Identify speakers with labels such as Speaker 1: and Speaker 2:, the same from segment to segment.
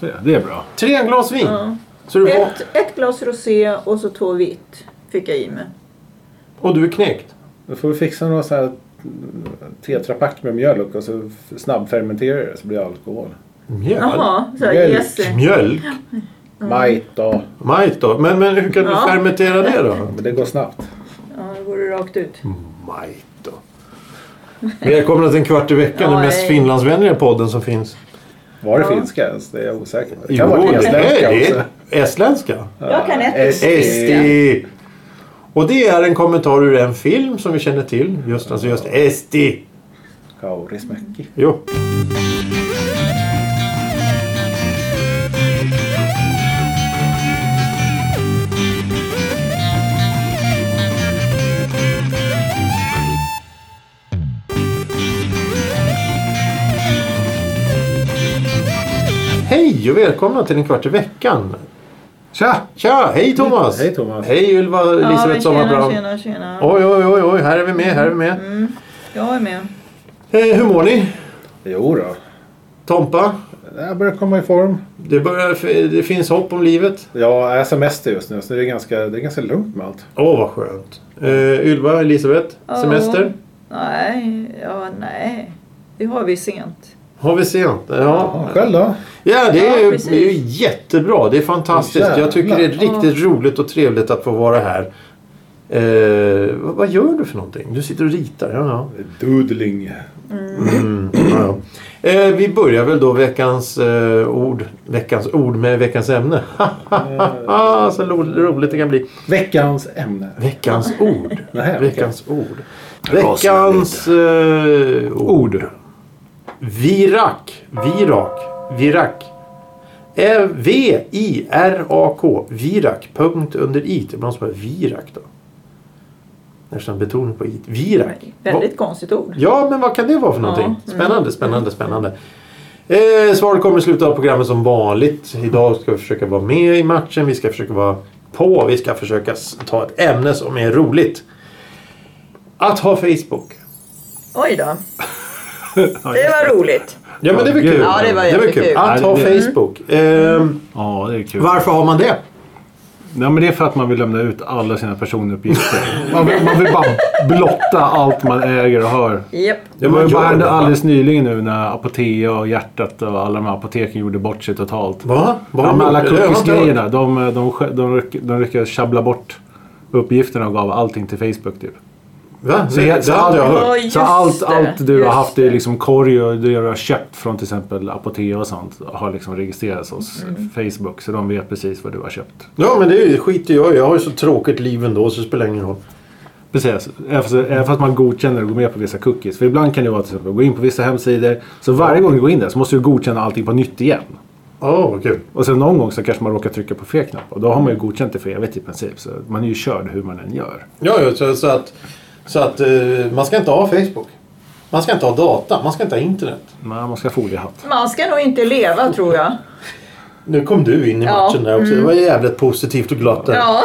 Speaker 1: Se, det är bra. Tre glas vin. Så du var...
Speaker 2: Ett, ett glas rosé och så två vitt fick jag i mig.
Speaker 1: Och du är knäckt.
Speaker 3: Då får vi fixa några sådana här tetrapack med mjölk och så f- snabbfermenterar det så blir det alkohol.
Speaker 1: Mjöl?
Speaker 2: Jaha, så här
Speaker 3: Mjölk.
Speaker 2: yes.
Speaker 1: Mjölk?
Speaker 3: Majt och...
Speaker 1: Majt då? Men, men hur kan du
Speaker 2: Ja.
Speaker 1: fermentera det då?
Speaker 3: Men det går snabbt.
Speaker 2: Ja, det går det rakt ut.
Speaker 1: Majt då. Välkomna till en kvart i veckan, den
Speaker 2: Ja,
Speaker 1: mest
Speaker 2: nej.
Speaker 1: finlandsvänliga podden som finns.
Speaker 3: Var det finska ens? Det är jag osäker på. Det
Speaker 1: Jo,
Speaker 3: kan vara
Speaker 1: det
Speaker 3: estländska
Speaker 1: är
Speaker 3: också.
Speaker 1: det. Estländska?
Speaker 2: Jag kan ett
Speaker 3: es-
Speaker 2: stycke.
Speaker 1: Esti! Och det är en kommentar ur en film som vi känner till. Just alltså just Esti.
Speaker 3: Kaurismäki.
Speaker 1: Jo. Hej och välkomna till en kvart i veckan.
Speaker 3: Tja!
Speaker 1: Tja! Hej Thomas!
Speaker 3: Hej, Thomas.
Speaker 1: Hej Ylva
Speaker 2: Ja, men
Speaker 1: Elisabeth
Speaker 2: tjena, Mm.
Speaker 1: Sommarbrand.
Speaker 2: tjena, tjena.
Speaker 1: Oj, oj, oj, oj, här är vi med, här är vi med.
Speaker 2: Jag är med.
Speaker 1: Eh, hur mår ni?
Speaker 3: Jo då.
Speaker 1: Tompa?
Speaker 3: Jag börjar komma i form.
Speaker 1: Det, börjar, det finns hopp om livet.
Speaker 3: Jag är semester just nu så det är ganska, det är ganska lugnt med allt.
Speaker 1: Åh, vad skönt. Eh, Ylva, Elisabeth,
Speaker 2: Ja.
Speaker 1: semester?
Speaker 2: Nej, ja, nej. Det har vi sent.
Speaker 1: Har vi sent? Ja,
Speaker 3: Ja, själv då?
Speaker 1: ja det är,
Speaker 2: Ja,
Speaker 1: ju-
Speaker 2: precis.
Speaker 1: det är ju jättebra. Det är fantastiskt.
Speaker 3: Jävlar.
Speaker 1: Jag tycker det är riktigt roligt och trevligt att få vara här. Eh, vad, vad gör du för någonting? Du sitter och ritar. Ja, ja.
Speaker 3: Doodling.
Speaker 1: Mm. Ja, ja. Eh, vi börjar väl då veckans eh, ord. Veckans ord med veckans ämne. Så ro- roligt det kan bli.
Speaker 3: Veckans ämne.
Speaker 1: Veckans ord.
Speaker 3: Nej, okej.
Speaker 1: veckans ord. Veckans eh, ord. Virak. Virak. Virak. Eh, V-I-R-A-K. Virak. Punkt under i. Det måste vara virak då. Nästan betoning på i. Virak.
Speaker 2: Väldigt konstigt ord.
Speaker 1: Ja, men vad kan det vara för någonting?
Speaker 2: Ja, mm.
Speaker 1: Spännande, spännande, spännande. Eh, svar kommer i slutet av programmet som vanligt. Idag ska vi försöka vara med i matchen. Vi ska försöka vara på. Vi ska försöka s- ta ett ämne som är roligt. Att ha Facebook.
Speaker 2: Oj då. Det var roligt.
Speaker 1: Ja, men det är väl kul?
Speaker 2: Ja, det var jättekul. Mm.
Speaker 1: kul. Att ha
Speaker 4: Ja, det-
Speaker 1: Facebook. Eh,
Speaker 4: Ja, det är kul.
Speaker 1: varför har man det?
Speaker 4: Nej, men det är för att man vill lämna ut alla sina personuppgifter. Man vill, man vill bara blotta allt man äger och har.
Speaker 2: Japp.
Speaker 1: Ja,
Speaker 4: Det
Speaker 1: man
Speaker 4: var ju
Speaker 1: gör
Speaker 4: vad
Speaker 1: det,
Speaker 4: hände
Speaker 1: va?
Speaker 4: alldeles nyligen nu när Apotea och Hjärtat och alla de här apoteken gjorde bort sig totalt.
Speaker 1: Va? Vad
Speaker 4: Ja,
Speaker 1: har
Speaker 4: men
Speaker 1: man
Speaker 4: alla
Speaker 1: gjort? Det har jag inte hört.
Speaker 4: cookies-grejerna. De, de, sk- de, ryck- de lyckades sjabbla bort uppgifterna och gav allting till Facebook typ.
Speaker 1: Va?
Speaker 4: Så,
Speaker 1: Nej,
Speaker 4: jag, så,
Speaker 1: det har inte jag hört.
Speaker 2: Ja,
Speaker 4: allt, så
Speaker 2: just
Speaker 4: allt, allt du
Speaker 2: det,
Speaker 4: har
Speaker 2: just
Speaker 4: haft
Speaker 2: det.
Speaker 4: i liksom korg och det du har köpt från till exempel Apotea och sånt har liksom registrerats hos
Speaker 2: Mm.
Speaker 4: Facebook. Så de vet precis vad du har köpt.
Speaker 1: Ja, men det är ju- skiter jag i. Jag har ju så tråkigt liv ändå så det spelar ingen roll.
Speaker 4: Precis, även fast- även fast man godkänner och går med på vissa cookies. För ibland kan det vara till exempel, gå in på vissa hemsidor. Så varje gång du går in där så måste du godkänna allting på nytt igen.
Speaker 1: Åh, vad kul.
Speaker 4: Och sen någon gång så kanske man råkar trycka på fel knapp. Och då har man ju godkänt det för evigt i princip. Så man är ju körd hur man än gör.
Speaker 1: Ja, ja så, så att, så att eh, man ska inte ha Facebook. Man ska inte ha data, man ska inte ha internet.
Speaker 4: Men man ska ha foliehatt.
Speaker 2: Man ska nog inte leva tror jag.
Speaker 1: Nu kom du in i
Speaker 2: Ja, Mm.
Speaker 1: matchen där också. Det var jävligt positivt och glatt där.
Speaker 2: Ja.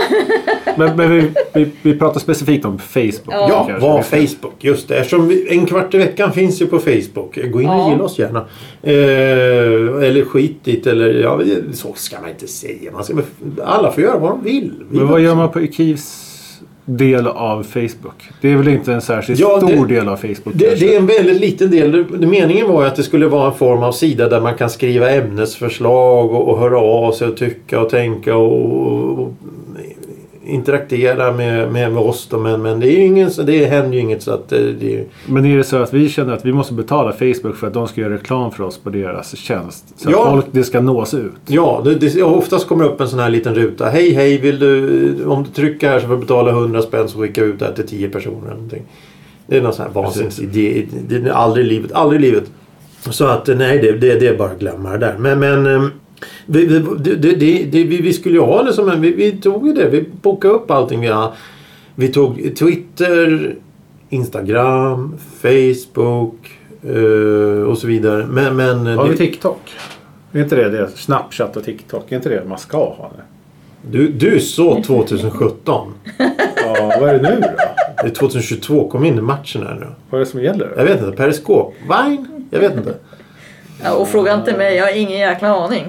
Speaker 4: Men, men vi, vi, vi pratar specifikt om Facebook.
Speaker 1: Ja,
Speaker 4: kanske.
Speaker 1: var Facebook. Just det. Eftersom vi, en kvart i veckan finns ju på Facebook. Gå in och
Speaker 2: Ja.
Speaker 1: gilla oss gärna. Eh, eller skit dit. Eller, ja, så ska man inte säga. Man ska, alla får göra vad de vill. Vi-
Speaker 4: Men vad gör man på Ukivs del av Facebook? Det är väl inte en särskilt
Speaker 1: Ja, det-
Speaker 4: stor del av Facebook
Speaker 1: Det,
Speaker 4: kanske?
Speaker 1: det är en väldigt liten del. Det- Meningen var ju att det skulle vara en form av sida där man kan skriva ämnesförslag och, och höra av sig och tycka och tänka och, och, och interagera med, med, med oss. Då. Men, men det, är ju ingen, så- det händer ju inget så att eh, det,
Speaker 4: Men är det så att vi känner att vi måste betala Facebook för att de ska göra reklam för oss på deras tjänst? Så
Speaker 1: Ja.
Speaker 4: att folk, det ska nås ut?
Speaker 1: Ja, det, det, ja, oftast kommer det upp en sån här liten ruta. Hej, hej, vill du, om du trycker här så får du betala 100 spänn så skickar vi ut det här till 10 personer. Eller någonting. Det är någon sån här vansinnsidé. Det, det är aldrig i livet. Aldrig i livet. Så att nej, det, det, det är bara att glömma det där. Men, men ehm, vi, vi, det, det, det, det- vi, vi skulle ju ha det som en... Vi, vi tog ju det. Vi bokade upp allting vi har. Vi tog Twitter, Instagram, Facebook eh, och så vidare. Men... men
Speaker 3: Har
Speaker 1: det-
Speaker 3: vi TikTok? Är inte det det? Snapchat och TikTok. Är inte det man ska ha nu?
Speaker 1: Du, du är så 2017.
Speaker 3: Ja, vad är det nu då?
Speaker 1: Det är 2022, kom in i matchen här nu.
Speaker 3: Vad är det som gäller?
Speaker 1: Jag vet inte, periskop, Vine? Jag vet inte.
Speaker 2: ja. Och fråga inte mig, jag har ingen jäkla aning.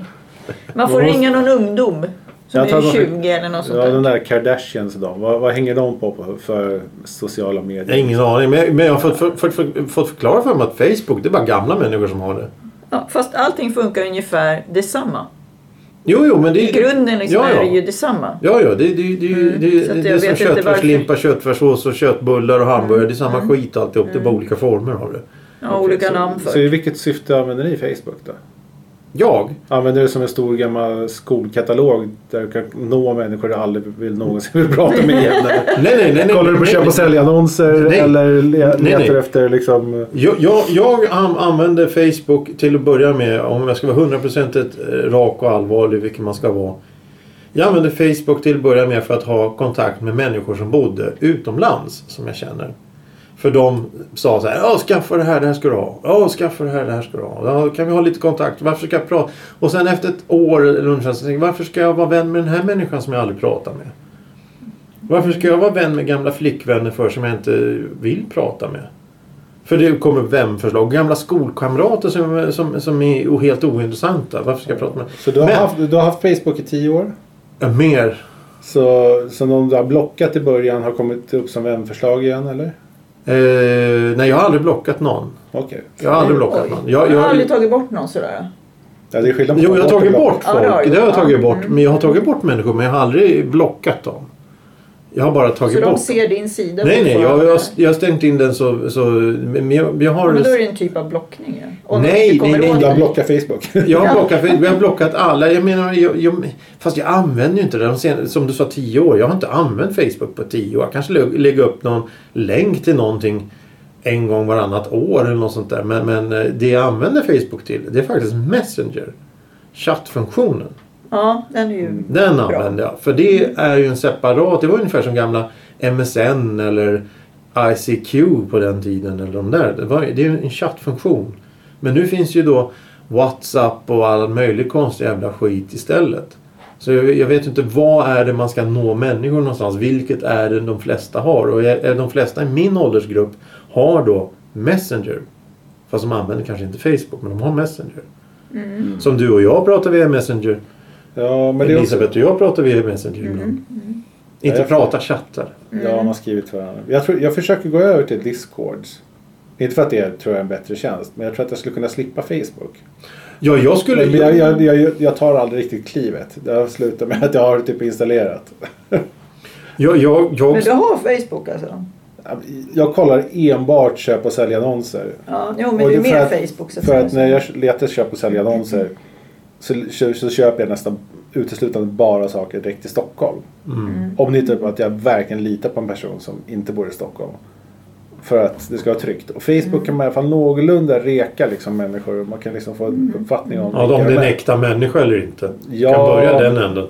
Speaker 2: Man får
Speaker 3: Man måste-
Speaker 2: ringa någon ungdom som
Speaker 3: Jag tror
Speaker 2: är
Speaker 3: att de-
Speaker 2: 20 eller något sånt
Speaker 3: Ja, de
Speaker 2: där.
Speaker 3: där Kardashians då. Vad, vad hänger de på, på för sociala medier?
Speaker 1: Jag har ingen aning. Men jag, men jag har fått, fått, fått, fått förklara för mig att Facebook, det är bara gamla människor som har det.
Speaker 2: Ja, fast allting funkar ungefär detsamma.
Speaker 1: Jo, jo, men det
Speaker 2: I grunden liksom
Speaker 1: ja, ja.
Speaker 2: är det ju detsamma.
Speaker 1: Ja, ja, det, det, det, det,
Speaker 2: Mm,
Speaker 1: det,
Speaker 2: så att
Speaker 1: det är
Speaker 2: jag
Speaker 1: som
Speaker 2: vet inte
Speaker 1: köttfärslimpa, köttfärssås och köttbullar och hamburgare. Det är samma
Speaker 2: Mm.
Speaker 1: skit alltihop. Det är bara olika former av det.
Speaker 2: Ja, olika namn
Speaker 3: Så
Speaker 2: för.
Speaker 3: i vilket syfte använder ni Facebook då?
Speaker 1: Jag?
Speaker 3: Använder du det som en stor gammal skolkatalog där du kan nå människor du aldrig vill någonsin vill prata med igen? eller?
Speaker 1: Nej, nej, nej. nej
Speaker 4: Kollar du på
Speaker 1: nej,
Speaker 4: köp
Speaker 1: nej.
Speaker 4: och säljannonser
Speaker 1: Nej.
Speaker 4: eller le-
Speaker 1: Nej,
Speaker 4: letar
Speaker 1: nej.
Speaker 4: efter liksom...
Speaker 1: Jag, jag, jag an- använder Facebook till att börja med, om jag ska vara hundraprocentigt eh, rak och allvarlig, vilket man ska vara. Jag använder Facebook till att börja med för att ha kontakt med människor som bodde utomlands, som jag känner. För de sa så här, ja skaffa det här, det här ska du ha. Ja skaffa det här, det här ska du ha. Ja, kan vi ha lite kontakt? Varför ska jag prata? Och sen efter ett år eller ungefär så tänker jag, varför ska jag vara vän med den här människan som jag aldrig pratar med? Varför ska jag vara vän med gamla flickvänner för som jag inte vill prata med? För det kommer vänförslag. Gamla skolkamrater som, som, som är o- helt ointressanta. Varför ska jag prata med
Speaker 3: Så du har,
Speaker 1: Men-
Speaker 3: haft, du har haft Facebook i tio år?
Speaker 1: Ja, Mer.
Speaker 3: Så, så någon du har blockat i början har kommit upp som vänförslag igen eller?
Speaker 1: Eh, nej, jag har aldrig blockat någon.
Speaker 3: Okej.
Speaker 1: Jag har aldrig blockat
Speaker 2: Oj.
Speaker 1: någon.
Speaker 2: Jag,
Speaker 1: Jag,
Speaker 2: har aldrig
Speaker 1: jag,
Speaker 2: tagit bort någon sådär.
Speaker 3: Ja, det är skillnad på
Speaker 1: jo, jag har
Speaker 3: att
Speaker 1: tagit
Speaker 3: blocka.
Speaker 1: bort
Speaker 2: Ja, det har
Speaker 1: folk.
Speaker 2: du.
Speaker 1: Det har jag
Speaker 2: Ja.
Speaker 1: tagit bort.
Speaker 2: Mm.
Speaker 1: Men jag har tagit bort människor, men jag har aldrig blockat dem. Jag har bara
Speaker 2: Så
Speaker 1: tagit
Speaker 2: de
Speaker 1: bort.
Speaker 2: ser din sida
Speaker 1: Nej, nej. Jag,
Speaker 2: fortfarande.
Speaker 1: jag, jag har stängt in den så... så men jag, jag har...
Speaker 2: Men då är det en typ av blockning ju. Om
Speaker 1: Nej,
Speaker 2: de inte
Speaker 1: nej,
Speaker 2: kommer
Speaker 1: nej,
Speaker 2: åt
Speaker 3: Du har
Speaker 2: den.
Speaker 3: blockat Facebook.
Speaker 1: Jag har,
Speaker 2: Ja.
Speaker 1: blockat, jag har blockat alla. Jag menar, jag, jag, fast jag använder ju inte det. De sen- Som du sa, tio år. Jag har inte använt Facebook på tio år. Jag kanske lä- lägger upp någon länk till någonting en gång varannat år eller något sånt där. Men, men eh, det jag använder Facebook till det är faktiskt Messenger. Chattfunktionen.
Speaker 2: Ja, den är ju...
Speaker 1: Den
Speaker 2: Bra.
Speaker 1: använder jag. För det är ju en separat. Det var ungefär som gamla MSN eller ICQ på den tiden. Eller de där. Det, var, det är ju en chattfunktion. Men nu finns ju då WhatsApp och all möjlig konstig jävla skit istället. Så jag, jag vet inte vad är det man ska nå människor någonstans. Vilket är det de flesta har. Och är, är de flesta i min åldersgrupp har då Messenger. Fast de använder kanske inte Facebook men de har Messenger. Som du och jag pratar via Messenger.
Speaker 3: Ja, men det är också...
Speaker 1: Elisabeth och jag pratar via Messenger ibland. Inte
Speaker 3: Ja, jag-
Speaker 1: prata, chattar.
Speaker 3: Ja, man har skrivit till varandra. Jag, tror, jag försöker gå över till Discord. Inte för att det tror jag är en bättre tjänst, men jag tror att jag skulle kunna slippa Facebook.
Speaker 1: Ja, jag skulle...
Speaker 3: Men jag, jag, jag, jag tar aldrig riktigt klivet. Det har slutat med att jag har typ installerat.
Speaker 1: Jag, jag, jag,
Speaker 2: Men du har Facebook alltså?
Speaker 3: Jag kollar enbart köp och säljannonser.
Speaker 2: Ja, jo, men
Speaker 3: Och
Speaker 2: det är
Speaker 3: det för
Speaker 2: mer
Speaker 3: att-
Speaker 2: Facebook. Så att
Speaker 3: För att
Speaker 2: säga.
Speaker 3: när jag letar köp och säljannonser så, så, så köper jag nästan uteslutande bara saker direkt till Stockholm.
Speaker 1: Mm.
Speaker 3: Om det inte är på att jag verkligen litar på en person som inte bor i Stockholm. För att det ska vara tryggt. Och Facebook kan man i alla fall någorlunda reka liksom människor. Man kan liksom få en uppfattning om
Speaker 1: ja, om det är
Speaker 3: de
Speaker 1: en
Speaker 3: är.
Speaker 1: äkta människa eller inte.
Speaker 3: Ja.
Speaker 1: Kan börja den änden.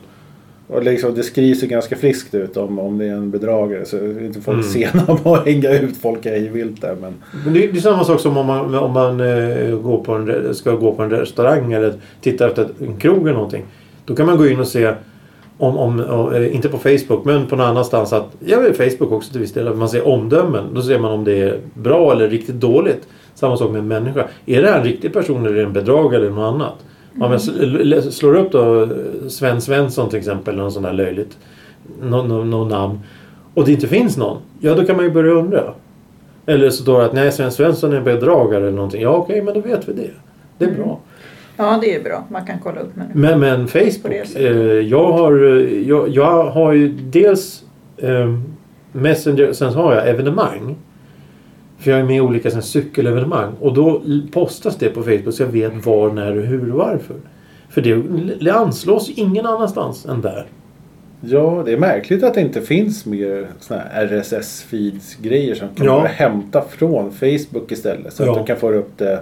Speaker 3: Och liksom, det skrivs ju ganska friskt ut om, om det är en bedragare. Så inte folk sena på att hänga ut folk i vilt där. Men
Speaker 1: Men det, är- det är samma sak som om man, om man eh, går på en, re- ska gå på en restaurang eller tittar efter en krog eller någonting. Då kan man gå in och se, om, om, om, eh, inte på Facebook men på någon annanstans, att, ja men Facebook också till viss del, att man ser omdömen. Då ser man om det är bra eller riktigt dåligt. Samma sak med en människa. Är det här en riktig person eller är det en bedragare eller något annat? Om jag sl- l- slår upp då eh, Sven Svensson till exempel, eller något sånt där löjligt, någon nå, nå namn. Och det inte finns någon, ja då kan man ju börja undra. Eller så står det att nej, Sven Svensson är en bedragare eller någonting. Ja, okej, men då vet vi det. Det är bra.
Speaker 2: Ja, det är bra. Man kan kolla upp människor.
Speaker 1: Men, men
Speaker 2: På det
Speaker 1: Facebook. Eh,
Speaker 2: sättet.
Speaker 1: jag, har, eh, jag, jag har ju dels eh, Messenger, sen så har jag evenemang. För jag är med i olika sån här cykelevenemang. Och då l- postas det på Facebook så jag vet var, när, och hur och varför. För det l- anslås ingen annanstans än där.
Speaker 3: Ja, det är märkligt att det inte finns mer såna här RSS-feeds grejer som kan
Speaker 1: Ja.
Speaker 3: bara hämta från Facebook istället. Så
Speaker 1: Ja.
Speaker 3: att du kan få upp det.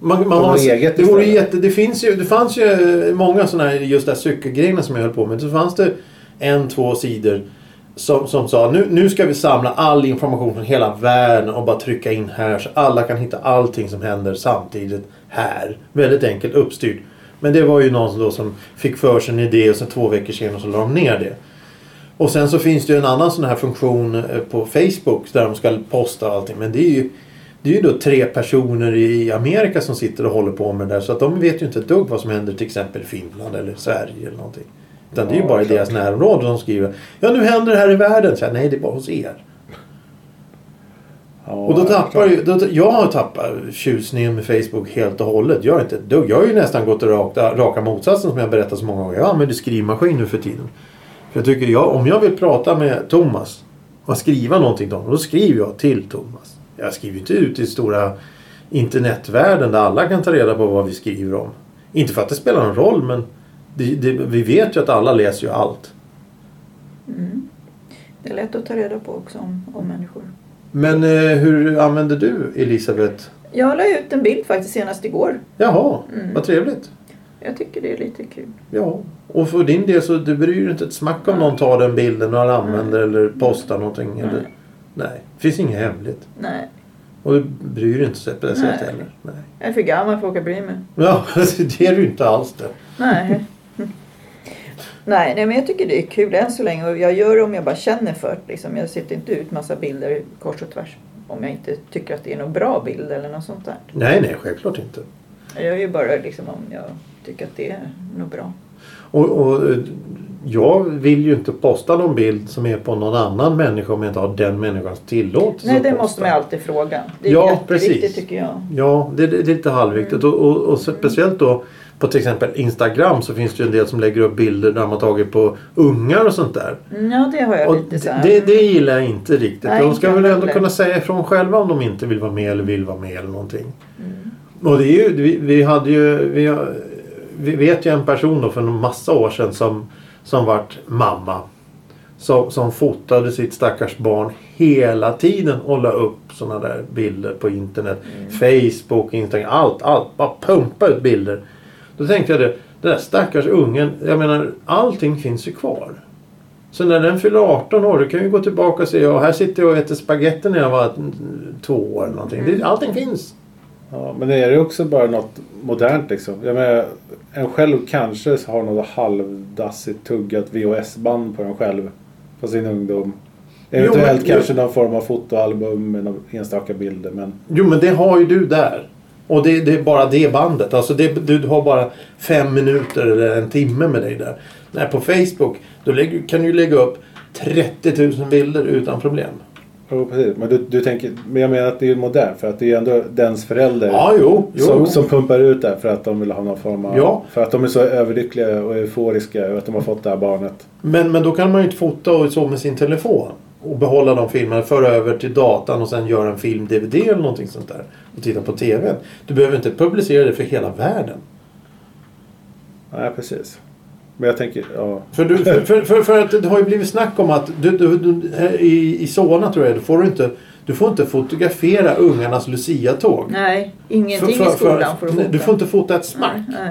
Speaker 1: Man, man
Speaker 3: Och
Speaker 1: har,
Speaker 3: eget
Speaker 1: det, vore ju
Speaker 3: istället.
Speaker 1: jätte, det, finns ju, det fanns ju många sådana här, just där cykelgrejerna som jag höll på med. Så fanns det en, två sidor som, som sa nu, nu ska vi samla all information från hela världen och bara trycka in här så alla kan hitta allting som händer samtidigt här. Väldigt enkelt uppstyrt. Men det var ju någon som, då som fick för sig en idé och sen två veckor senare så la de ner det. Och sen så finns det ju en annan sån här funktion eh, på Facebook där de ska posta och allting. Men det är ju Det är ju då tre personer i Amerika som sitter och håller på med det där. Så att de vet ju inte ett dugg vad som händer till exempel i Finland eller Sverige eller någonting. Utan det är ju
Speaker 3: Ja,
Speaker 1: bara i
Speaker 3: klart.
Speaker 1: deras närområde de skriver. Ja nu händer det här i världen. Så här, Nej det är bara hos er.
Speaker 3: Ja,
Speaker 1: Och då
Speaker 3: det är
Speaker 1: tappar
Speaker 3: klart.
Speaker 1: ju, då, jag har tappat tjusningen med Facebook helt och hållet. Jag är inte ett dugg. Jag har ju nästan gått raka, raka motsatsen som jag berättat så många gånger. Jag använder skrivmaskin nu för tiden. För jag tycker jag, om jag vill prata med Thomas och skriva någonting till honom, då skriver jag till Thomas. Jag skriver inte ut i stora internetvärlden där alla kan ta reda på vad vi skriver om. Inte för att det spelar någon roll men det, det, vi vet ju att alla läser ju allt.
Speaker 2: Mm. Det är lätt att ta reda på också om, om människor.
Speaker 1: Men eh, hur använder du Elisabeth?
Speaker 2: Jag la ut en bild faktiskt senast igår.
Speaker 1: Jaha,
Speaker 2: Mm.
Speaker 1: vad trevligt.
Speaker 2: Jag tycker det är lite kul.
Speaker 1: Ja, och för din del så du bryr dig inte ett smack om någon tar den bilden och använder eller postar någonting. Eller,
Speaker 2: Nej.
Speaker 1: nej, det finns inget hemligt.
Speaker 2: Nej,
Speaker 1: Och du bryr dig inte så på det sättet
Speaker 2: Nej.
Speaker 1: heller. Nej.
Speaker 2: jag är för gammal för att åka bry mig.
Speaker 1: Ja, alltså, det är du inte alls det.
Speaker 2: Nej. Nej, nej, men jag tycker det är kul än så länge. Och jag gör det om jag bara känner för det. Liksom. Jag sitter inte ut massa bilder kors och tvärs. Om jag inte tycker att det är någon bra bild eller något sånt där.
Speaker 1: Nej, nej, självklart inte.
Speaker 2: Jag gör ju bara liksom om jag tycker att det är något bra.
Speaker 1: Och, och eh, jag vill ju inte posta någon bild som är på någon annan människa om jag inte har den människans tillåtelse
Speaker 2: Nej,
Speaker 1: att
Speaker 2: det
Speaker 1: posta.
Speaker 2: måste man alltid fråga. Det är
Speaker 1: Ja,
Speaker 2: jätteviktigt
Speaker 1: precis.
Speaker 2: tycker jag.
Speaker 1: Ja, det, det är lite halvviktigt.
Speaker 2: Mm.
Speaker 1: Och, och, och speciellt då på till exempel Instagram så finns det ju en del som lägger upp bilder där man tagit på ungar och sånt där.
Speaker 2: Mm, Ja, det har jag
Speaker 1: Och
Speaker 2: lite så
Speaker 1: det,
Speaker 2: här.
Speaker 1: det, det gillar jag inte riktigt.
Speaker 2: Nej,
Speaker 1: de
Speaker 2: inte
Speaker 1: ska
Speaker 2: jag
Speaker 1: väl ändå
Speaker 2: heller.
Speaker 1: kunna säga ifrån själva om de inte vill vara med eller vill vara med eller någonting.
Speaker 2: Mm.
Speaker 1: Och det är ju, vi, vi hade ju, vi, har- vi vet ju en person då för en massa år sedan som, som vart mamma. Som, som fotade sitt stackars barn hela tiden och la upp sådana där bilder på internet.
Speaker 2: Mm.
Speaker 1: Facebook, Instagram, allt, allt. Bara pumpa ut bilder. Då tänkte jag det, den där stackars ungen, jag menar allting finns ju kvar. Så när den fyller 18 år, då kan vi gå tillbaka och se, ja här sitter jag och äter spagetti när jag var mm, två år eller någonting. Det, allting finns.
Speaker 3: Ja, men är det också bara något modernt liksom? Jag menar, en själv kanske har något halvdassigt tuggat VHS-band på en själv. På sin ungdom. Eventuellt
Speaker 1: men-
Speaker 3: kanske någon form av fotoalbum med några enstaka bilder. Men
Speaker 1: Jo men det har ju du där. Och det, det är bara det bandet. Alltså det, du har bara fem minuter eller en timme med dig där. Nej, på Facebook då lägger, kan du ju lägga upp 30 000 bilder utan problem.
Speaker 3: Jo, precis. Men, du, du tänker, men jag menar att det är ju modernt för att det är ju ändå dens förälder
Speaker 1: Ja, jo. jo.
Speaker 3: Som, som pumpar ut det här för att de vill ha någon form av...
Speaker 1: Ja.
Speaker 3: För att de är så överlyckliga och euforiska över att de har fått det här barnet.
Speaker 1: Men, men då kan man ju inte fota och så med sin telefon. Och behålla de filmerna, föra över till datan och sen göra en film-DVD eller någonting sånt där. Och titta på TVn. Du behöver inte publicera det för hela världen.
Speaker 3: Nej, precis. Men jag tänker, ja.
Speaker 1: För, du, för, för, för, för att det har ju blivit snack om att du, du, du, här i, i Solna tror jag, då får du inte, du får inte fotografera ungarnas Lucia-tåg.
Speaker 2: Nej, ingenting i skolan får du
Speaker 1: nej,
Speaker 2: fota.
Speaker 1: Du får inte fota ett smack.
Speaker 2: Nej, nej.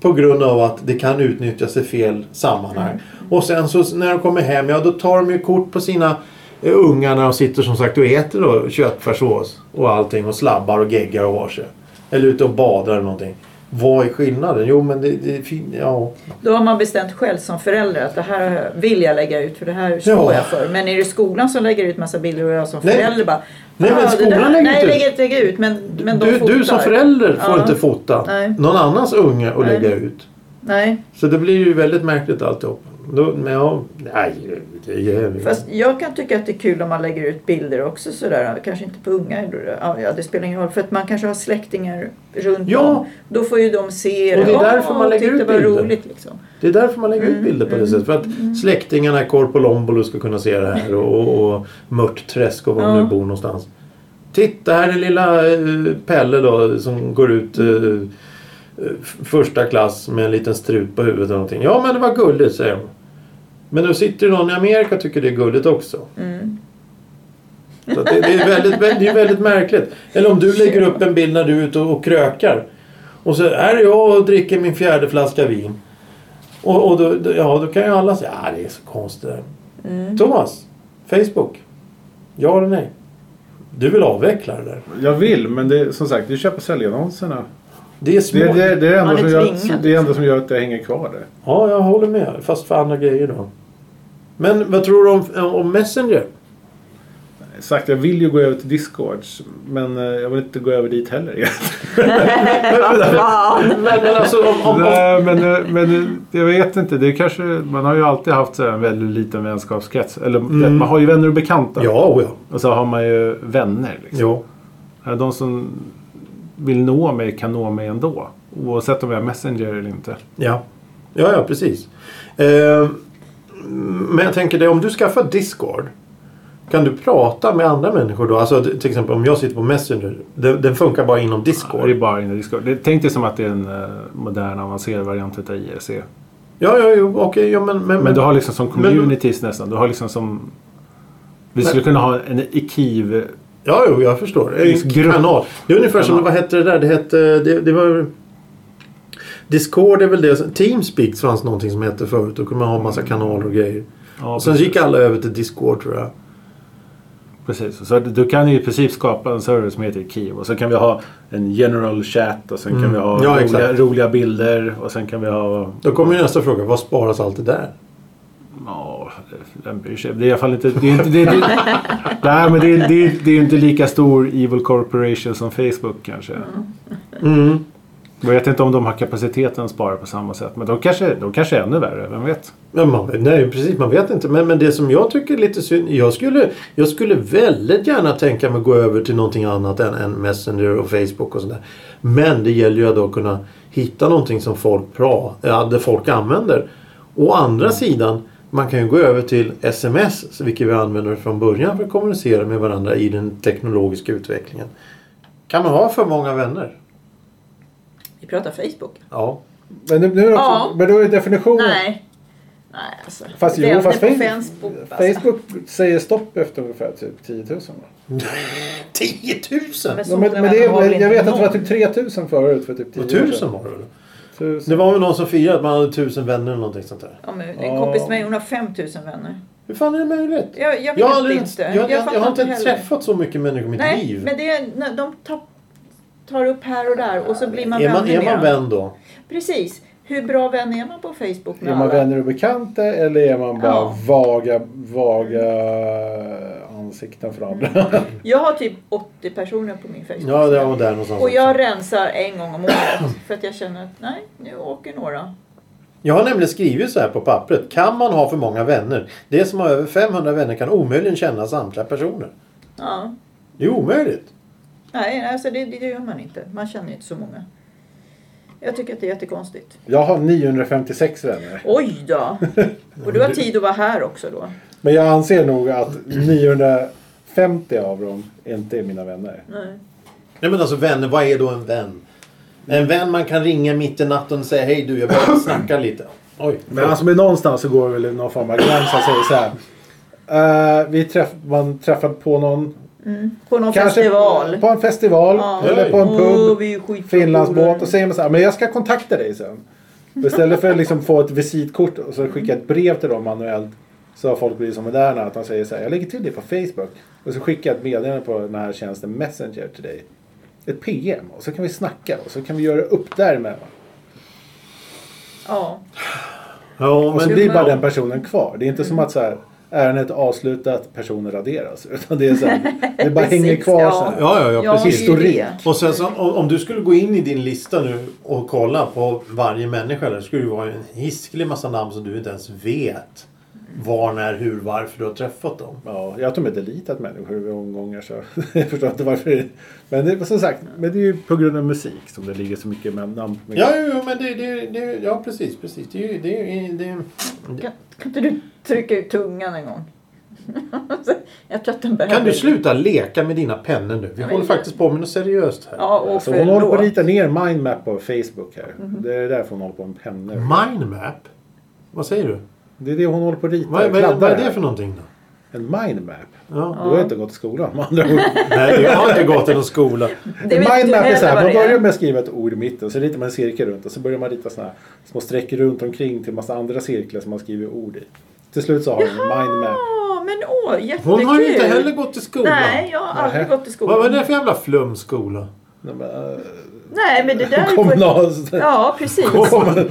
Speaker 1: På grund av att det kan utnyttjas i fel sammanhang.
Speaker 2: Mm.
Speaker 1: Och sen så när de kommer hem, ja då tar de ju kort på sina eh, ungar när de sitter som sagt och äter då köttfärssås och allting och slabbar och geggar och har sig. Eller ute och badar eller någonting. Vad är skillnaden? Jo men det, det är fin- ja.
Speaker 2: Då har man bestämt själv som förälder att det här vill jag lägga ut för det här står
Speaker 1: Ja.
Speaker 2: jag för. Men är det skolan som lägger ut massa bilder och jag som
Speaker 1: Nej.
Speaker 2: förälder bara...
Speaker 1: Nej, men
Speaker 2: "Ah, det
Speaker 1: skolan
Speaker 2: där-
Speaker 1: lägger inte
Speaker 2: Nej,
Speaker 1: ut."
Speaker 2: lägger inte lägger ut. Men, men de
Speaker 1: du,
Speaker 2: fotar.
Speaker 1: du som förälder får
Speaker 2: Ja.
Speaker 1: inte fota
Speaker 2: Nej.
Speaker 1: någon annans unge och
Speaker 2: Nej.
Speaker 1: lägga ut.
Speaker 2: Nej,
Speaker 1: Så det blir ju väldigt märkligt alltihop. Då, men ja, nej, det är
Speaker 2: fast jag kan tycka att det är kul om man lägger ut bilder också sådär. Kanske inte på unga. då det- Ja, ja, det spelar ingen roll. För att man kanske har släktingar runt
Speaker 1: Ja.
Speaker 2: om. Då får ju de se
Speaker 1: Och det är
Speaker 2: "Åh,
Speaker 1: därför man lägger
Speaker 2: titta
Speaker 1: ut
Speaker 2: vad
Speaker 1: bilder."
Speaker 2: roligt liksom.
Speaker 1: Det är därför man lägger ut bilder på det sättet. För att släktingarna i Korpolombolo ska kunna se det här och, och, och Mörtträsk och var de
Speaker 2: Ja.
Speaker 1: nu bor någonstans. Titta här är lilla eh, Pelle då som går ut eh, eh, f- första klass med en liten strut på huvudet eller någonting. Ja men det var gulligt säger de. Men nu sitter det någon i Amerika och tycker det är gulligt också.
Speaker 2: Mm.
Speaker 1: Så att det, det, är väldigt, väldigt, det är väldigt märkligt. Eller om du lägger upp en bild när du är ute och, och krökar. Och så här är jag och dricker min fjärde flaska vin. Och, och då, då- ja, då kan ju alla säga att det är så konstigt. Mm. Thomas, Facebook. Ja eller nej? Du vill avveckla det där.
Speaker 3: Jag vill, men det är som sagt, du köper säljannonserna.
Speaker 1: Det är små...
Speaker 3: Det, är- det, är- det, är det,
Speaker 2: Man
Speaker 3: enda som
Speaker 2: är
Speaker 3: gör,
Speaker 2: tvingad.
Speaker 3: det är det enda som gör att jag hänger kvar där.
Speaker 1: Ja, jag håller med. Fast för andra grejer då. Men vad tror du om, om Messenger?
Speaker 3: Exakt, jag vill ju gå över till Discords. Men eh, jag vill inte gå över dit heller egentligen.
Speaker 2: Vad fan!
Speaker 1: Men, men alltså om... om, om
Speaker 4: Nej, men, eh, men eh, jag vet inte. Det är kanske, man har ju alltid haft så här en väldigt liten vänskapskrets. Eller
Speaker 3: Mm.
Speaker 4: man har ju vänner och bekanta.
Speaker 1: ja, oh ja.
Speaker 4: Och så har man ju vänner. Liksom.
Speaker 1: Jo.
Speaker 4: Eh, De som vill nå mig kan nå mig ändå. Oavsett om jag är Messenger eller inte.
Speaker 1: Ja. ja, ja precis. Eh, men jag tänker det, om du skaffar Discord. Kan du prata med andra människor då? Alltså till exempel om jag sitter på Messenger. Den, den funkar bara inom
Speaker 4: Det är
Speaker 1: Discord.
Speaker 4: bara in i Discord. Det, tänk dig som att det är en eh, modern avancerad variant utav IRC.
Speaker 1: Ja, ja, jo, okej. Ja, men, men,
Speaker 4: Men du har liksom som communities nästan. Du har liksom som... Vi skulle kunna ha en IKIV...
Speaker 1: Ja, jo, jag förstår. En
Speaker 4: Grupp.
Speaker 1: kanal. Det är ungefär som,
Speaker 4: Kanal.
Speaker 1: vad hette det där? Det hette, det, det var... Discord är väl det. som- Teamspeak fanns någonting som hette förut. Då kunde man ha massa kanaler och grejer.
Speaker 4: Ja,
Speaker 1: Och sen gick alla över till Discord tror jag.
Speaker 4: Precis, så att du kan ju i princip skapa en server som heter Kiev och så kan vi ha en general chat och sen kan vi ha
Speaker 1: Mm. Ja,
Speaker 4: roliga,
Speaker 1: exakt.
Speaker 4: roliga bilder och sen kan vi ha...
Speaker 1: Då kommer ju nästa fråga. Vad sparas allt det där?
Speaker 4: Ja, vem bryr sig? Det är i alla fall inte... Det är inte det, det, nej, men det, är- det, är- det är ju inte lika stor evil corporation som Facebook kanske.
Speaker 1: Mm.
Speaker 4: Jag vet inte om de har kapaciteten att spara på samma sätt men de kanske, de kanske är ännu värre, vem vet?
Speaker 1: Ja, man, nej, precis. Man vet inte. Men, men det som jag tycker är lite synd. Jag skulle, jag skulle väldigt gärna tänka mig att gå över till någonting annat än, än Messenger och Facebook och sådär. Men det gäller ju att då kunna hitta någonting som folk, pra, ja, det folk använder. Å andra sidan, man kan ju gå över till sms, vilket vi använder från början för att kommunicera med varandra i den teknologiska utvecklingen. Kan man ha för många vänner?
Speaker 2: Vi pratar Facebook.
Speaker 1: Ja.
Speaker 3: Men, nu, nu är det också,
Speaker 2: Ja.
Speaker 3: men då är
Speaker 1: Oh.
Speaker 3: definitionen.
Speaker 2: Nej. Nej, alltså.
Speaker 3: Fast jo,
Speaker 2: Vänner
Speaker 3: fast
Speaker 2: på
Speaker 3: Facebook-
Speaker 2: Facebook. Alltså.
Speaker 3: Facebook säger stopp efter ungefär typ 10 000. va?
Speaker 1: 10 000!
Speaker 2: Så
Speaker 3: Ja, men,
Speaker 2: många
Speaker 3: men det,
Speaker 2: vänner har väl
Speaker 3: är- jag
Speaker 2: inte
Speaker 3: vet att det var
Speaker 2: någon?
Speaker 3: typ 3 000 förut för typ 10
Speaker 1: Och
Speaker 3: år sedan.
Speaker 1: 1000 var det väl? Det
Speaker 3: Tusen.
Speaker 1: var väl någon som firade att man hade tusen vänner eller någonting sånt där.
Speaker 2: Ja, men en
Speaker 3: Ja.
Speaker 2: kompis med mig, hon har 5000 vänner.
Speaker 1: Hur fan är det möjligt?
Speaker 2: Jag, jag vet
Speaker 1: har aldrig-
Speaker 2: inte.
Speaker 1: Jag, jag, jag,
Speaker 2: fattar
Speaker 1: har inte
Speaker 2: heller.
Speaker 1: träffat så mycket människor i mitt
Speaker 2: Nej,
Speaker 1: liv.
Speaker 2: men det är, när de tar, tar upp här och där och så blir man
Speaker 1: är man,
Speaker 2: vänner
Speaker 1: är man
Speaker 2: med dem.
Speaker 1: vän då?
Speaker 2: Precis. Hur bra vän är man på Facebook med
Speaker 3: Är man
Speaker 2: alla?
Speaker 3: vänner och bekanta eller är man bara
Speaker 2: Ja.
Speaker 3: vaga, vaga ansikten för andra?
Speaker 2: Jag har typ 80 personer på min Facebook.
Speaker 1: Ja, det var där någonstans.
Speaker 2: och jag
Speaker 1: också.
Speaker 2: rensar en gång om året för att jag känner att nej, nu åker några.
Speaker 1: jag har nämligen skrivit så här på pappret. Kan man ha för många vänner? Det som har över 500 vänner kan omöjligen känna samtliga personer.
Speaker 2: Ja.
Speaker 1: Det är omöjligt.
Speaker 2: Nej, alltså det, det gör man inte. Man känner inte så många. Jag tycker att det är jättekonstigt.
Speaker 3: Jag har 956 vänner.
Speaker 2: Oj då! Och du har tid att vara här också då?
Speaker 3: Men jag anser nog att 950 av dem inte är mina vänner.
Speaker 2: Nej.
Speaker 1: Nej men alltså vänner, vad är då en vän? En vän man kan ringa mitt i natten och säga hej du, jag behöver snacka lite. Oj.
Speaker 3: Men alltså men någonstans så går det väl någon form av gräns. Han säger så här. eh, vi träff, man träffar på någon.
Speaker 2: På någon festival.
Speaker 3: På en festival.
Speaker 2: Ja.
Speaker 3: Eller på en pub.
Speaker 2: Åh, vi är skitbra polare.
Speaker 3: Finlandsbåt och säger man så här, men jag ska kontakta dig sen. Och Istället för att liksom få ett visitkort och så skicka ett brev till dem manuellt. Så har folk blivit så moderna att de säger så här, jag lägger till dig på Facebook. Och så skickar jag ett meddelande på den här tjänsten Messenger till dig. Ett PM och så kan vi snacka och så kan vi göra upp där med.
Speaker 2: Ja.
Speaker 1: Ja,
Speaker 3: Och så
Speaker 1: men...
Speaker 3: blir bara den personen kvar. Det är inte som att så här, ärendet är avslutat, personen raderas. Utan det är så här, det bara
Speaker 2: Precis,
Speaker 3: hänger kvar
Speaker 2: ja.
Speaker 3: så här.
Speaker 1: Ja, ja, ja,
Speaker 2: Ja,
Speaker 1: precis.
Speaker 2: det är ju
Speaker 3: Historik.
Speaker 2: det.
Speaker 1: Och sen så, om, om du skulle gå in i din lista nu och kolla på varje människa där, skulle det vara en hiskelig massa namn som du inte ens vet var, när, hur, varför du har träffat dem.
Speaker 3: Ja, jag tror de har deletat människor i omgångar så jag förstår inte varför. Det, men det, som sagt, men det är ju på grund av musik som det ligger så mycket med namn. Med.
Speaker 1: Ja, jo, jo, men det, det, det, ja precis, precis. Det, är ju- det, är ju- det, är-
Speaker 2: Kan, kan inte du trycka ut tungan en gång? jag tror att den behöver...
Speaker 1: Kan du sluta leka med dina pennor nu? Vi håller faktiskt på med något seriöst här.
Speaker 2: Ja, och
Speaker 3: Så Alltså, hon håller på att
Speaker 2: förlåt.
Speaker 3: rita ner mindmap på Facebook här.
Speaker 2: Mhm.
Speaker 3: Det är därför hon håller på med pennor.
Speaker 1: Mindmap? Vad säger du?
Speaker 3: Det är det hon håller på att rita.
Speaker 1: Vad, vad,
Speaker 3: kladdar
Speaker 1: vad är det
Speaker 3: här.
Speaker 1: för någonting då?
Speaker 3: En mindmap?
Speaker 1: Ja.
Speaker 3: Du har inte gått i skolan med andra ord.
Speaker 1: Nej, jag har inte gått till någon skola.
Speaker 2: Det vet du
Speaker 3: mindmap är
Speaker 2: heller
Speaker 3: så här,
Speaker 2: vad
Speaker 3: man
Speaker 2: det
Speaker 3: börjar
Speaker 2: är.
Speaker 3: med att skriva ett ord i mitten, så ritar man en cirkel runt och så börjar man rita såna här små streck runt omkring till massa andra cirklar som man skriver ord i. Till slut så har hon en mindmap.
Speaker 2: Ja, men åh, jättekul.
Speaker 1: Hon har ju inte heller gått till skolan.
Speaker 2: Nej, jag har aldrig
Speaker 3: Nähä.
Speaker 2: gått i
Speaker 1: Vad
Speaker 2: skolan.
Speaker 1: var det för jävla flumskola?
Speaker 3: Nej, men, eh,
Speaker 2: Nej, men det där...
Speaker 3: kommunal...
Speaker 2: Ja, precis. Vanlig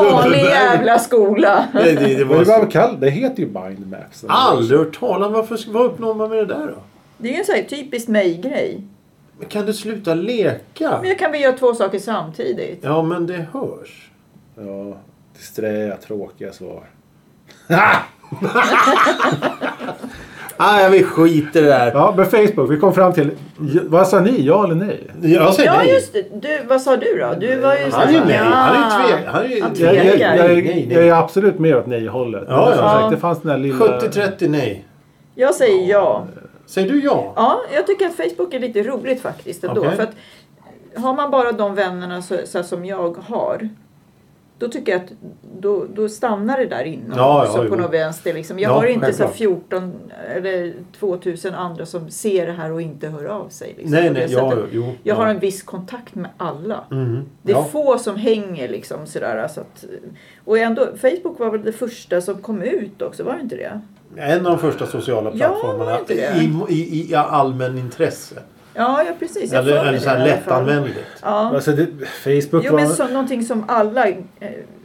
Speaker 1: Vanlig
Speaker 2: jävla skola.
Speaker 1: Det, det, det
Speaker 3: Det, var...
Speaker 1: var...
Speaker 3: det, var kall... det heter ju Mind Maps.
Speaker 1: Aldrig hört talas om. Varför ska- vad uppnår man med det där då?
Speaker 2: Det är ju en sån här typiskt mig-grej.
Speaker 1: Men Kan du sluta leka?
Speaker 2: Men jag kan väl göra två saker samtidigt.
Speaker 1: Ja, men det hörs.
Speaker 3: Ja, disträa, tråkiga svar.
Speaker 1: Ah, jag vill skita i det där.
Speaker 4: Ja, men Facebook. Vi kom fram till... Vad sa ni? Ja eller nej?
Speaker 1: Jag säger
Speaker 2: Ja,
Speaker 1: nej.
Speaker 2: just det. Du, vad sa du då? Du var ju så
Speaker 1: Han är ju
Speaker 2: här-
Speaker 1: nej.
Speaker 2: Ja.
Speaker 1: Han är ju tve... Han är ju...
Speaker 2: Han
Speaker 4: Jag, jag, jag,
Speaker 2: Tvekar.
Speaker 4: är-
Speaker 1: Nej,
Speaker 4: jag
Speaker 1: nej.
Speaker 4: är absolut mer åt nej-hållet.
Speaker 1: Ja,
Speaker 4: Men som
Speaker 2: ja.
Speaker 4: sagt, Det fanns den där lilla...
Speaker 1: 70-30 nej.
Speaker 2: Jag säger ja.
Speaker 1: Säger du ja?
Speaker 2: Ja, jag tycker att Facebook är lite roligt faktiskt ändå.
Speaker 1: Okej.
Speaker 2: För att har man bara de vännerna så, så här som jag har. Då tycker jag att då, då stannar det där inom.
Speaker 1: Ja, ja,
Speaker 2: så på
Speaker 1: jo.
Speaker 2: något vänster liksom. Jag
Speaker 1: Ja,
Speaker 2: har inte så här
Speaker 1: självklart.
Speaker 2: 14 eller 2000 andra som ser det här och inte hör av sig. Liksom,
Speaker 1: Nej,
Speaker 2: på det
Speaker 1: nej. Ja,
Speaker 2: sättet.
Speaker 1: jo.
Speaker 2: Jag
Speaker 1: ja.
Speaker 2: har en viss kontakt med alla.
Speaker 1: Mm,
Speaker 2: Det är
Speaker 1: ja.
Speaker 2: få som hänger liksom sådär. Så att, och ändå, Facebook var väl det första som kom ut också, var det inte det?
Speaker 1: En av de första sociala
Speaker 2: Ja,
Speaker 1: plattformarna
Speaker 2: var inte det?
Speaker 1: i, i, i allmän intresse.
Speaker 2: Ja, ja precis. Jag får
Speaker 1: Eller,
Speaker 2: mig
Speaker 1: eller så här
Speaker 2: det i alla fall.
Speaker 1: lättanvändigt.
Speaker 2: Ja.
Speaker 3: Alltså, det... Facebook
Speaker 2: Jo,
Speaker 3: var...
Speaker 2: men så, någonting som alla eh,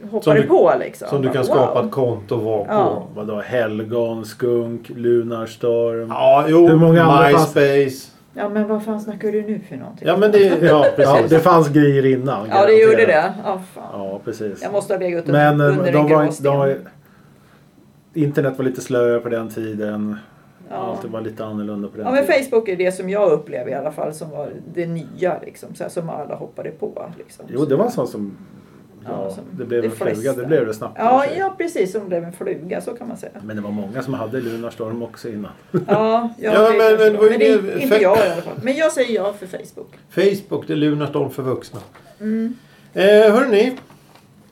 Speaker 1: Som
Speaker 2: hoppade
Speaker 1: du-
Speaker 2: på liksom.
Speaker 1: Som du kan
Speaker 2: Wow.
Speaker 1: skapa ett konto och vara på.
Speaker 2: Ja.
Speaker 1: Ja,
Speaker 3: Vadå? Helgon, Skunk, Lunarstorm.
Speaker 1: jo.
Speaker 4: Hur många andra fanns-
Speaker 1: MySpace.
Speaker 2: Ja, men vad fan snackar du nu för någonting?
Speaker 1: Ja, men det...
Speaker 3: Ja,
Speaker 1: Ja, precis.
Speaker 3: det fanns grejer innan.
Speaker 2: Ja, det gjorde
Speaker 3: garanterat.
Speaker 2: det. Ja, fan.
Speaker 3: Ja, precis.
Speaker 2: Jag måste ha legat upp
Speaker 3: Men eh,
Speaker 2: under
Speaker 3: de
Speaker 2: en
Speaker 3: var,
Speaker 2: grå
Speaker 3: inte- de
Speaker 2: sten.
Speaker 3: var, internet var lite slöare på den tiden.
Speaker 2: ja.
Speaker 3: Allt var lite annorlunda på den
Speaker 2: ja, men
Speaker 3: tiden.
Speaker 2: Facebook är det som jag upplever i alla fall som var det nya liksom. Så här, som alla hoppade på. Liksom.
Speaker 3: Jo, det var en sån som... Ja,
Speaker 2: Ja, som
Speaker 3: det blev
Speaker 2: de
Speaker 3: en fluga.
Speaker 2: flesta.
Speaker 3: Det blev det snabbt. i och
Speaker 2: Ja,
Speaker 3: för sig.
Speaker 2: ja precis. Som blev en fluga, så kan man säga.
Speaker 3: Men det var många som hade Lunarstorm också innan.
Speaker 2: Ja, jag
Speaker 1: Ja,
Speaker 2: det
Speaker 1: men-
Speaker 2: kanske
Speaker 1: men
Speaker 2: var.
Speaker 1: vad är
Speaker 2: det är
Speaker 1: det-
Speaker 2: inte jag i alla fall. Men jag säger ja för Facebook. Mm.
Speaker 1: Facebook, det är Lunarstorm för vuxna. Eh, hörni,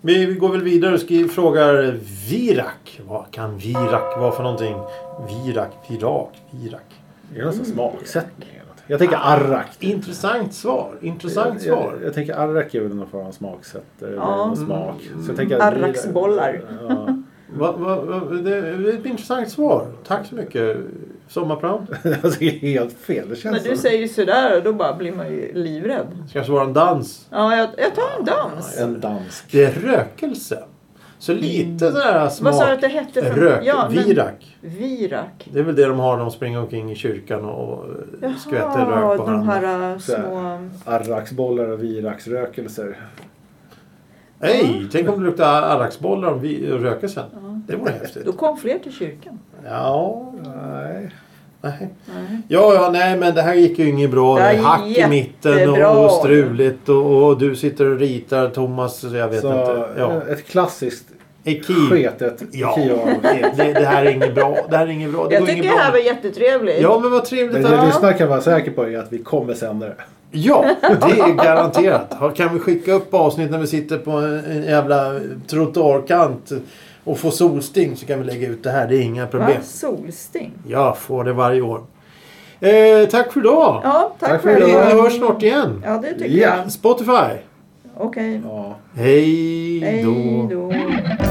Speaker 1: vi vi går väl vidare och skriver, frågar Virak. Vad kan Virak vara för någonting? Virak, Virak, Virak.
Speaker 3: Är det någon sån smaksättning? eller något? Jag tänker arrak.
Speaker 1: Intressant svar. Intressant
Speaker 3: Jag, jag,
Speaker 1: svar.
Speaker 3: jag tänker arrak är väl någon form av smaksättare. eller
Speaker 2: Ja.
Speaker 3: någon Smak. Så jag tänker att-
Speaker 2: Arraksbollar.
Speaker 3: Ja.
Speaker 1: Va, va, va, det är ett intressant svar. Tack så mycket. Sommarpram.
Speaker 3: Alltså, det är helt fel. Det
Speaker 2: När
Speaker 3: känns
Speaker 2: du
Speaker 3: som
Speaker 2: säger sådär, då bara blir man ju livrädd.
Speaker 1: Ska jag vara en dans?
Speaker 2: Ja, jag, jag tar en dans.
Speaker 3: en dansk.
Speaker 1: Det är rökelse. Så lite sådär smak.
Speaker 2: Mm. Vad sa du att det hette? För...
Speaker 1: Rök.
Speaker 2: Ja, men-
Speaker 1: Virak.
Speaker 2: Virak.
Speaker 1: Det är väl det de har när de springer omkring i kyrkan och eh, skvätter rök på
Speaker 2: de
Speaker 1: varandra.
Speaker 2: här äh,
Speaker 3: Så här.
Speaker 2: små...
Speaker 3: Arraksbollar och viraksrökelser.
Speaker 1: Hej! Tänk om det luktar arraksbollar om vi röker sen. Det vore häftigt.
Speaker 2: Då kom fler till kyrkan.
Speaker 1: Ja,
Speaker 3: Nej.
Speaker 1: nej. Ja, ja, nej men det här gick ju inget bra.
Speaker 2: Det
Speaker 1: Det
Speaker 2: här
Speaker 1: är
Speaker 2: är
Speaker 1: hack i mitten
Speaker 2: jättebra.
Speaker 1: och, och struligt och, och du sitter och ritar Thomas, så jag vet
Speaker 3: Så, eh,
Speaker 1: inte. Ja.
Speaker 3: Ett klassiskt
Speaker 1: Ekiv.
Speaker 3: sketet
Speaker 1: Ja.
Speaker 3: Kia.
Speaker 1: Det, det här är inget bra. Det här är inget bra. Det
Speaker 2: Jag
Speaker 1: går
Speaker 2: tycker
Speaker 1: inget
Speaker 2: det här var
Speaker 1: bra.
Speaker 2: jättetrevligt.
Speaker 1: Ja, men vad trevligt
Speaker 3: Men
Speaker 1: att
Speaker 3: det
Speaker 2: Ja.
Speaker 3: lyssnare kan vara säker på är att vi kommer sända det.
Speaker 1: Ja, det är garanterat. Ha- Kan vi skicka upp avsnitt när vi sitter på en en jävla trottoarkant och får solsting så kan vi lägga ut det här. Det är inga problem.
Speaker 2: Va? Solsting.
Speaker 1: Jag får det varje år. Eh, tack för idag!
Speaker 2: Ja, tack,
Speaker 3: Tack
Speaker 2: för
Speaker 3: för
Speaker 1: Vi
Speaker 2: det.
Speaker 3: idag.
Speaker 1: hörs snart igen.
Speaker 2: Ja, det tycker
Speaker 3: Ja.
Speaker 2: jag.
Speaker 1: Spotify.
Speaker 2: Okej.
Speaker 3: Ja.
Speaker 1: Hej
Speaker 2: Hej
Speaker 1: då.
Speaker 2: då.